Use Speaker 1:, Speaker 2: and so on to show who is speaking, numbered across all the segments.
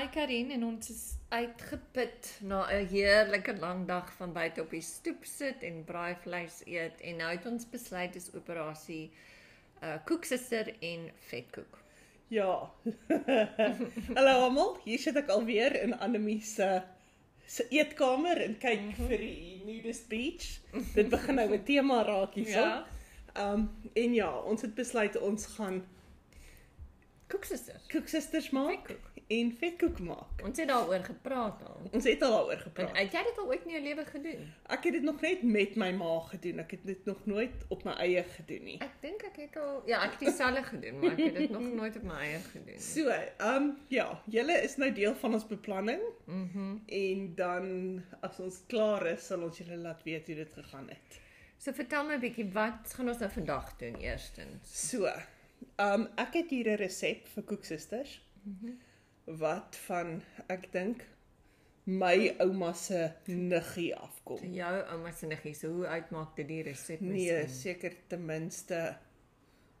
Speaker 1: ek Karin en ons is uitgeput na 'n heerlike lang dag van buite op die stoep sit en braai vleis eet en nou het ons besluit dis operasie uh koeksuster en vetkoek.
Speaker 2: Ja. Hallo almal, hier sit ek alweer in Annelie se se eetkamer en kyk mm -hmm. vir die nudist beach. Dit begin nou 'n tema raak hierso. Ja.
Speaker 1: Ja.
Speaker 2: Um en ja, ons het besluit ons gaan
Speaker 1: Koeksuster.
Speaker 2: koeksisters maak
Speaker 1: Vetkoek.
Speaker 2: en vetkoek maak.
Speaker 1: Ons het daaroor gepraat al.
Speaker 2: Ons het al daaroor
Speaker 1: En
Speaker 2: gepraat.
Speaker 1: het jy dit al ooit in jou lewe gedoen?
Speaker 2: Ek het dit nog net met my ma gedoen. Ek het dit nog nooit op my eie gedoen nie.
Speaker 1: Ek dink ek het al ja, ek het dieselfde gedoen, maar ek het dit nog nooit op my eie gedoen. nie.
Speaker 2: So, ehm um, ja, julle is nou deel van ons beplanning. Mhm. Mm en dan as ons klaar is, sal ons julle laat weet hoe dit gegaan het.
Speaker 1: So vertel my 'n bietjie wat gaan ons nou vandag doen eerstens?
Speaker 2: So, ehm um, ek het hier 'n resep vir koeksisters. Mhm. Mm wat van ek dink my ouma se niggie afkom.
Speaker 1: Jou ouma se niggie, so hoe uitmaak dit die resep?
Speaker 2: Nee, seker ten minste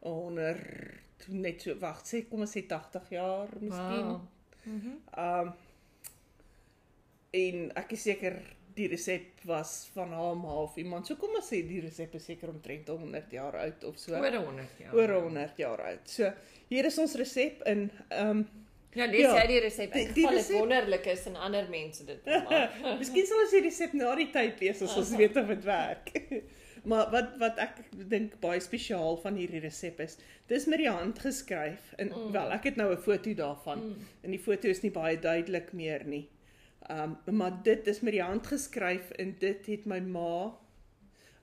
Speaker 2: 100 net so wag, sê kom ons sê 80 jaar miskien. Wow.
Speaker 1: Wow.
Speaker 2: Um en ek is seker die resep was van haar ma of iemand. So kom ons sê die resep is seker omtrent 100 jaar oud of so.
Speaker 1: Oor ja. 100 jaar.
Speaker 2: Oor 100 jaar oud. So hier is ons resep in um
Speaker 1: Ja, lees
Speaker 2: Ja.
Speaker 1: jy die resep.
Speaker 2: Die-
Speaker 1: Ek
Speaker 2: die
Speaker 1: geval dit
Speaker 2: resep-
Speaker 1: wonderlik is en ander mense dit wil maak.
Speaker 2: miskien sal ons die resep na die tyd lees as ons weet of dit werk. maar wat wat ek dink baie spesiaal van hierdie resep is, dis met die hand geskryf en mm. wel ek het nou 'n foto daarvan mm. en die foto is nie baie duidelik meer nie. Um maar dit is met die hand geskryf en dit het my ma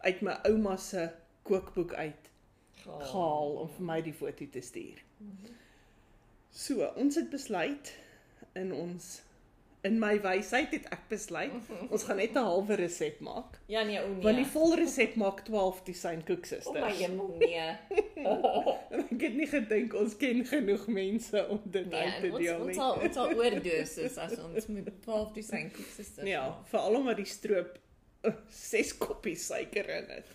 Speaker 2: uit my ouma se kookboek uit gehaal om vir my die foto te stuur.
Speaker 1: Mhm.
Speaker 2: So, ons het besluit in ons in my wysheid het ek besluit ons gaan net 'n halwe resep maak.
Speaker 1: Mhm. Ja nee, o
Speaker 2: Want die
Speaker 1: nee.
Speaker 2: vol resep maak 12 design
Speaker 1: O my
Speaker 2: koeksisters.
Speaker 1: hemel nee.
Speaker 2: En ek het nie gedink ons ken genoeg mense om dit
Speaker 1: Nee,
Speaker 2: uit
Speaker 1: en
Speaker 2: te
Speaker 1: ons
Speaker 2: deel
Speaker 1: ons
Speaker 2: nie.
Speaker 1: sal ons sal oordosis as ons met 12 dosyn koeksisters.
Speaker 2: Ja, veral omdat die stroop 6 koppies suiker in het.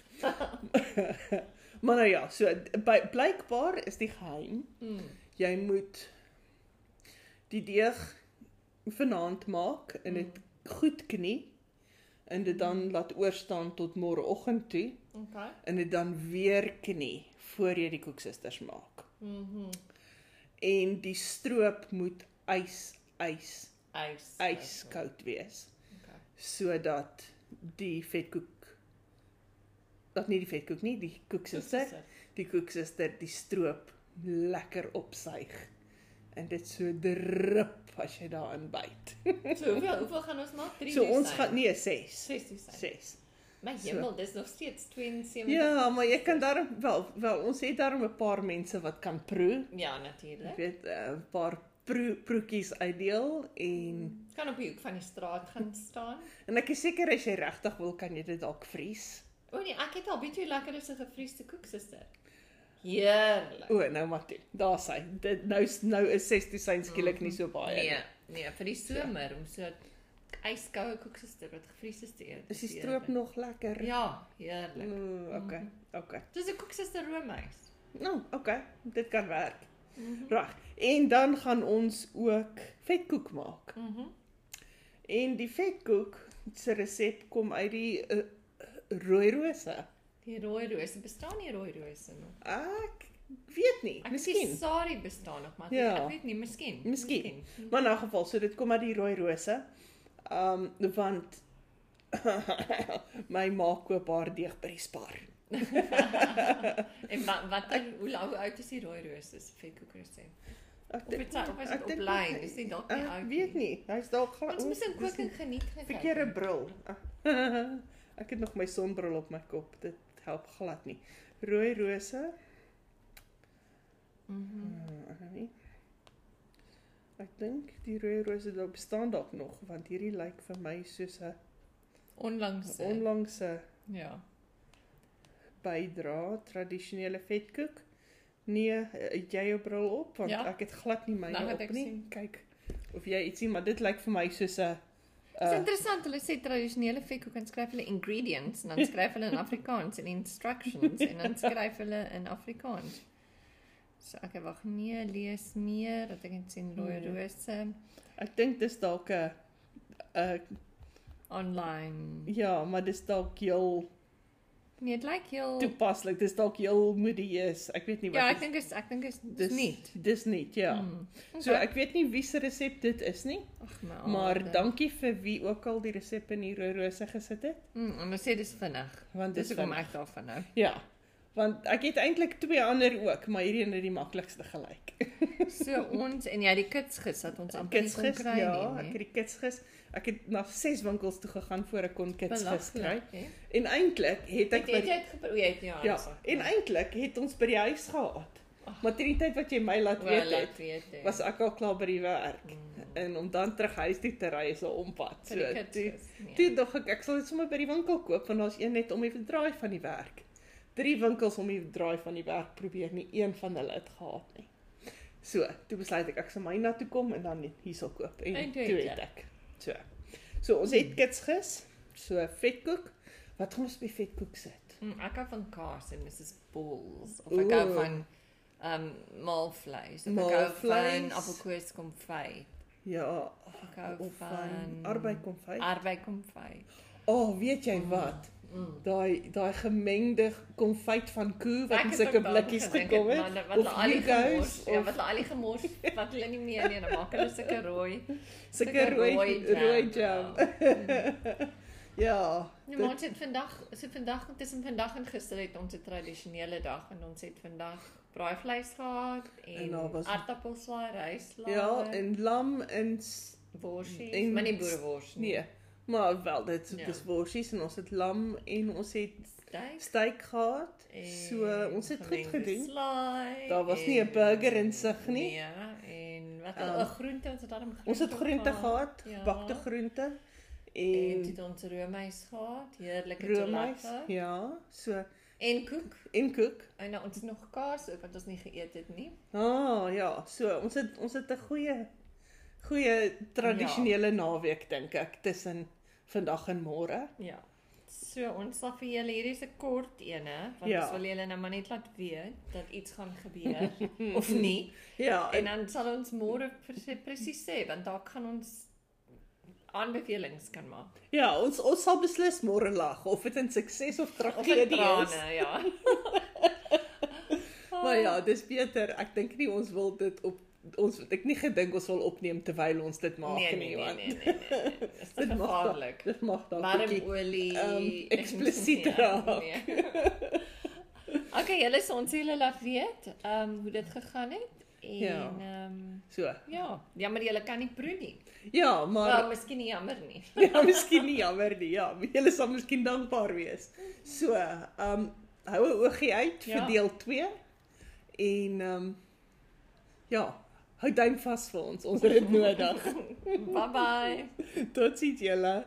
Speaker 2: maar nou ja, so by- blykbaar is die geheim
Speaker 1: Mm.
Speaker 2: jy moet die deeg vanaand maak en dit
Speaker 1: Mm,
Speaker 2: goed knie en dit dan laat oorstaan tot môreoggend toe
Speaker 1: Okay.
Speaker 2: en dit dan weer knie voor jy die koeksisters maak.
Speaker 1: Mhm.
Speaker 2: En die stroop moet ys ys
Speaker 1: Ys.
Speaker 2: yskoud wees
Speaker 1: Okay.
Speaker 2: sodat die vetkoek dat nie die vetkoek nie, die koeksister die koeksuster die stroop lekker opsuig en dit so drup as jy daarin byt.
Speaker 1: So hoeveel hoeveel gaan ons maak? 3
Speaker 2: So ons gaan nee 6.
Speaker 1: 6 dosyn.
Speaker 2: 6.
Speaker 1: My
Speaker 2: so.
Speaker 1: hemel, dis nog steeds 72.
Speaker 2: Ja, maar jy kan daar wel wel ons het daar 'n paar mense wat kan proe.
Speaker 1: Ja,
Speaker 2: Jy
Speaker 1: natuurlik.
Speaker 2: weet 'n paar proe proetjies uitdeel en
Speaker 1: Kan op die hoek van die straat
Speaker 2: Hm.
Speaker 1: gaan staan.
Speaker 2: en ek is seker as jy regtig wil kan jy dit dalk vries.
Speaker 1: O nee, ek het al weet jy hoe lekker is 'n gevriesde koeksister. Heerlik.
Speaker 2: O, nou maar toe. Daar's hy. Dit nou is- nou is 6 dosyn skielik nie so baie Ja. nie.
Speaker 1: Nee, nee, vir die somer om so yskoue koeksister wat gevries is te eet.
Speaker 2: Is die
Speaker 1: is
Speaker 2: stroop
Speaker 1: heerlik.
Speaker 2: nog lekker?
Speaker 1: nee. Ja, Mhm. heerlik.
Speaker 2: Ooh, okay. Okay.
Speaker 1: Dis 'n koeksister roomys.
Speaker 2: Nou, oh, okay, dit kan werk. Reg. En dan gaan ons ook vetkoek maak.
Speaker 1: Mhm. Mm
Speaker 2: En die vetkoek se resep kom uit die uh, rooi rose.
Speaker 1: die rooi rose bestaan nie rooi rose nog.
Speaker 2: Ek weet nie,
Speaker 1: Ek
Speaker 2: miskien.
Speaker 1: sien sari bestaan nog, maar ek-
Speaker 2: Ja.
Speaker 1: ek weet nie, miskien.
Speaker 2: Miskien. Maar in 'n geval, so dit kom uit die rooi rose. Um want my ma koop haar deeg by die Spar.
Speaker 1: En wat wat dan hoe lank oud is die rooi rose se vetkoekresep?
Speaker 2: Ek
Speaker 1: Of het sy of is dit
Speaker 2: ek dink-
Speaker 1: oplyn? Is dit dalk nie
Speaker 2: Ek
Speaker 1: oud
Speaker 2: Ah, weet nie. Hy's dalk gaan
Speaker 1: Ons moet in
Speaker 2: dis
Speaker 1: kook
Speaker 2: nie-
Speaker 1: en geniet gekyk.
Speaker 2: Verkeerde bril. Ah. Ek het nog my sonbril op my kop. Dit help glad nie. Rooi rose. Hmm,
Speaker 1: Mhm.
Speaker 2: Nee. Ek dink die rooi rose daar bestaan dalk nog want hierdie lyk vir my soos 'n
Speaker 1: Onlangs. eh,
Speaker 2: onlangse
Speaker 1: Ja.
Speaker 2: bydra tradisionele vetkoek. Nee, eh, het jy jou bril op want
Speaker 1: Ja.
Speaker 2: ek het glad nie myne
Speaker 1: Nou het
Speaker 2: op
Speaker 1: ek
Speaker 2: nie.
Speaker 1: sien.
Speaker 2: Kyk of jy ietsie, maar dit lyk vir my soos 'n
Speaker 1: Dis
Speaker 2: uh,
Speaker 1: interessant, hulle sê tradisionele vetkoek en skryf hulle ingredients en dan skryf hulle in Afrikaans en instructions en dan skryf hulle in Afrikaans. So ek wag nee, lees meer dat ek net sien rooi
Speaker 2: Nee.
Speaker 1: rose
Speaker 2: Ek dink dis dalk 'n 'n
Speaker 1: online.
Speaker 2: eh, ja, maar dis dalk heel
Speaker 1: Nee, dit lyk heel
Speaker 2: toepaslik. Dis dalk heel moedieus. Ek weet nie wat
Speaker 1: Ja,
Speaker 2: is- Dus
Speaker 1: ek dink is ek dink is dis
Speaker 2: dis
Speaker 1: nie.
Speaker 2: Dis nie, ja.
Speaker 1: Mm.
Speaker 2: So ek weet nie wie se resep dit is nie,
Speaker 1: Ag my.
Speaker 2: maar
Speaker 1: aarde.
Speaker 2: dankie vir wie ook al die eh, resep in die rooi rose gesit het,
Speaker 1: Mm, en ons sê dis vinnig.
Speaker 2: want
Speaker 1: Dis
Speaker 2: dis
Speaker 1: hoekom
Speaker 2: van
Speaker 1: ek daarvan hou.
Speaker 2: Ja. Want ek het eintlik twee ander ook, maar hierdie een het die maklikste gelyk.
Speaker 1: So ons en jy het die kits gis dat ons amper nie kon
Speaker 2: Kitsgis,
Speaker 1: kry
Speaker 2: ja,
Speaker 1: nie,
Speaker 2: ek
Speaker 1: nie.
Speaker 2: het die kitsgis. Ek het na 6 winkels toe gegaan voor ek kon kitsgis kry.
Speaker 1: Belaglik, hè?
Speaker 2: En eintlik het ek
Speaker 1: Het het
Speaker 2: by,
Speaker 1: jy dit geprobeer? O, jy het nie
Speaker 2: ja,
Speaker 1: alles gehad
Speaker 2: en
Speaker 1: nie.
Speaker 2: eintlik het ons by die huis gehad.
Speaker 1: Ag.
Speaker 2: Maar teen die tyd wat jy my laat
Speaker 1: Wel, ek
Speaker 2: weet
Speaker 1: Mm.
Speaker 2: het,
Speaker 1: weet dit.
Speaker 2: was ek al klaar by die werk. En om dan terug huis toe te ry is 'n ompad. So toe
Speaker 1: toe
Speaker 2: Toe dog ek ek sal dit sommer by die winkel koop want daar's een net om die draai van die werk. Drie winkels om die draai van die werk probeer nie een van hulle het gehad nie. So, toe besluit ek ek sal my na toe kom en dan hiersal koop en,
Speaker 1: En toe
Speaker 2: toe
Speaker 1: het
Speaker 2: het ek. So. So ons het kitsgis, so vetkoek. Wat gaan ons by vetkoek sit?
Speaker 1: Mm, ek hou van kaas en Mrs Balls of ek hou
Speaker 2: Ooh.
Speaker 1: van ehm um, maalvleis of ek hou van
Speaker 2: Maalvleis.
Speaker 1: appelkoes konfyt.
Speaker 2: Ja,
Speaker 1: of Ek hou
Speaker 2: of van
Speaker 1: van
Speaker 2: arbei konfyt.
Speaker 1: Arbei konfyt.
Speaker 2: O, oh, weet jy wat?
Speaker 1: Mm.
Speaker 2: Daai daai gemengde konfyt van koe wat
Speaker 1: Ek
Speaker 2: in
Speaker 1: het ook
Speaker 2: sulke
Speaker 1: daaraan
Speaker 2: blikkies
Speaker 1: gedink,
Speaker 2: gekom het.
Speaker 1: man, Wat hulle al die gemors,
Speaker 2: Hugo's
Speaker 1: ja,
Speaker 2: of-
Speaker 1: wat hulle al die gemors wat hulle nie meer nie, dan maak hulle sulke rooi,
Speaker 2: Sulke rooi rooi jam.
Speaker 1: Ja.
Speaker 2: Ja.
Speaker 1: Nou
Speaker 2: dit-
Speaker 1: maar ons het vandag, ons het vandag tussen vandag en gister het ons 'n tradisionele dag en ons het vandag braaivleis gehad
Speaker 2: En
Speaker 1: en,
Speaker 2: daar
Speaker 1: en
Speaker 2: was-
Speaker 1: aardappelslaai, ryslaai.
Speaker 2: Ja, en lam en s-
Speaker 1: worsies,
Speaker 2: en-
Speaker 1: maar nie boereworsies nie.
Speaker 2: nee. Maar wel dit
Speaker 1: Ja.
Speaker 2: dis worsies en ons het lam en ons het
Speaker 1: Steak.
Speaker 2: steak gehad. So
Speaker 1: en
Speaker 2: ons het goed
Speaker 1: gemengde
Speaker 2: gedoen.
Speaker 1: Slaai,
Speaker 2: Daar was nie
Speaker 1: en-
Speaker 2: 'n burger in sig nie.
Speaker 1: Ja, en wat
Speaker 2: Ehm,
Speaker 1: al um, groente ons het dan groente.
Speaker 2: Ons het groente gehad,
Speaker 1: ja.
Speaker 2: gebakte groente
Speaker 1: En
Speaker 2: en
Speaker 1: dit ons roomys gehad, heerlike
Speaker 2: roomys.
Speaker 1: roomys.
Speaker 2: Ja, so
Speaker 1: En koek.
Speaker 2: en koek.
Speaker 1: En nou, ons het nog kaas ook wat ons nie geëet het nie.
Speaker 2: Ah ja, so ons het ons het 'n goeie goeie tradisionele naweek dink ek tussen vandag en môre.
Speaker 1: Ja. So ons sal vir julle hierdie se kort ene want ja.
Speaker 2: Ja.
Speaker 1: ons wil julle nou maar net laat weet dat iets gaan gebeur of nie.
Speaker 2: Ja,
Speaker 1: En
Speaker 2: en
Speaker 1: dan sal ons môre presi- presies sê want daar kan ons aanbevelings kan maak.
Speaker 2: ja, ons ons sal beslis môre lag of dit 'n sukses of
Speaker 1: Of in
Speaker 2: tragedie is.
Speaker 1: trane, ja. Ah.
Speaker 2: Maar ja, dis beter. Ek dink nie ons wil dit op ons het ek nie gedink ons wil opneem terwyl ons dit maak
Speaker 1: nee, nee,
Speaker 2: nie
Speaker 1: nee,
Speaker 2: want
Speaker 1: nee, nee, nee, nee. Dis te
Speaker 2: dit mag dalk-
Speaker 1: gevaarlik.
Speaker 2: Dit mag dalk
Speaker 1: Warm
Speaker 2: bietjie-
Speaker 1: olie
Speaker 2: ehm, eksplisiet
Speaker 1: Nee,
Speaker 2: raak.
Speaker 1: nee. Okay, julle sê ons julle laat weet ehm um, hoe dit gegaan het en
Speaker 2: Ja.
Speaker 1: ehm ja. um,
Speaker 2: so.
Speaker 1: ja, jammer julle kan nie proe nie.
Speaker 2: Ja, maar
Speaker 1: Wel, miskien nie jammer nie.
Speaker 2: ja, miskien nie jammer nie. Ja, julle sal miskien dankbaar wees. So, ehm um, hou 'n oogie uit vir
Speaker 1: Ja.
Speaker 2: deel 2 en ehm um, ja, hou duim vas vir ons. Ons het dit nodig.
Speaker 1: Bye bye.
Speaker 2: Totsiens julle.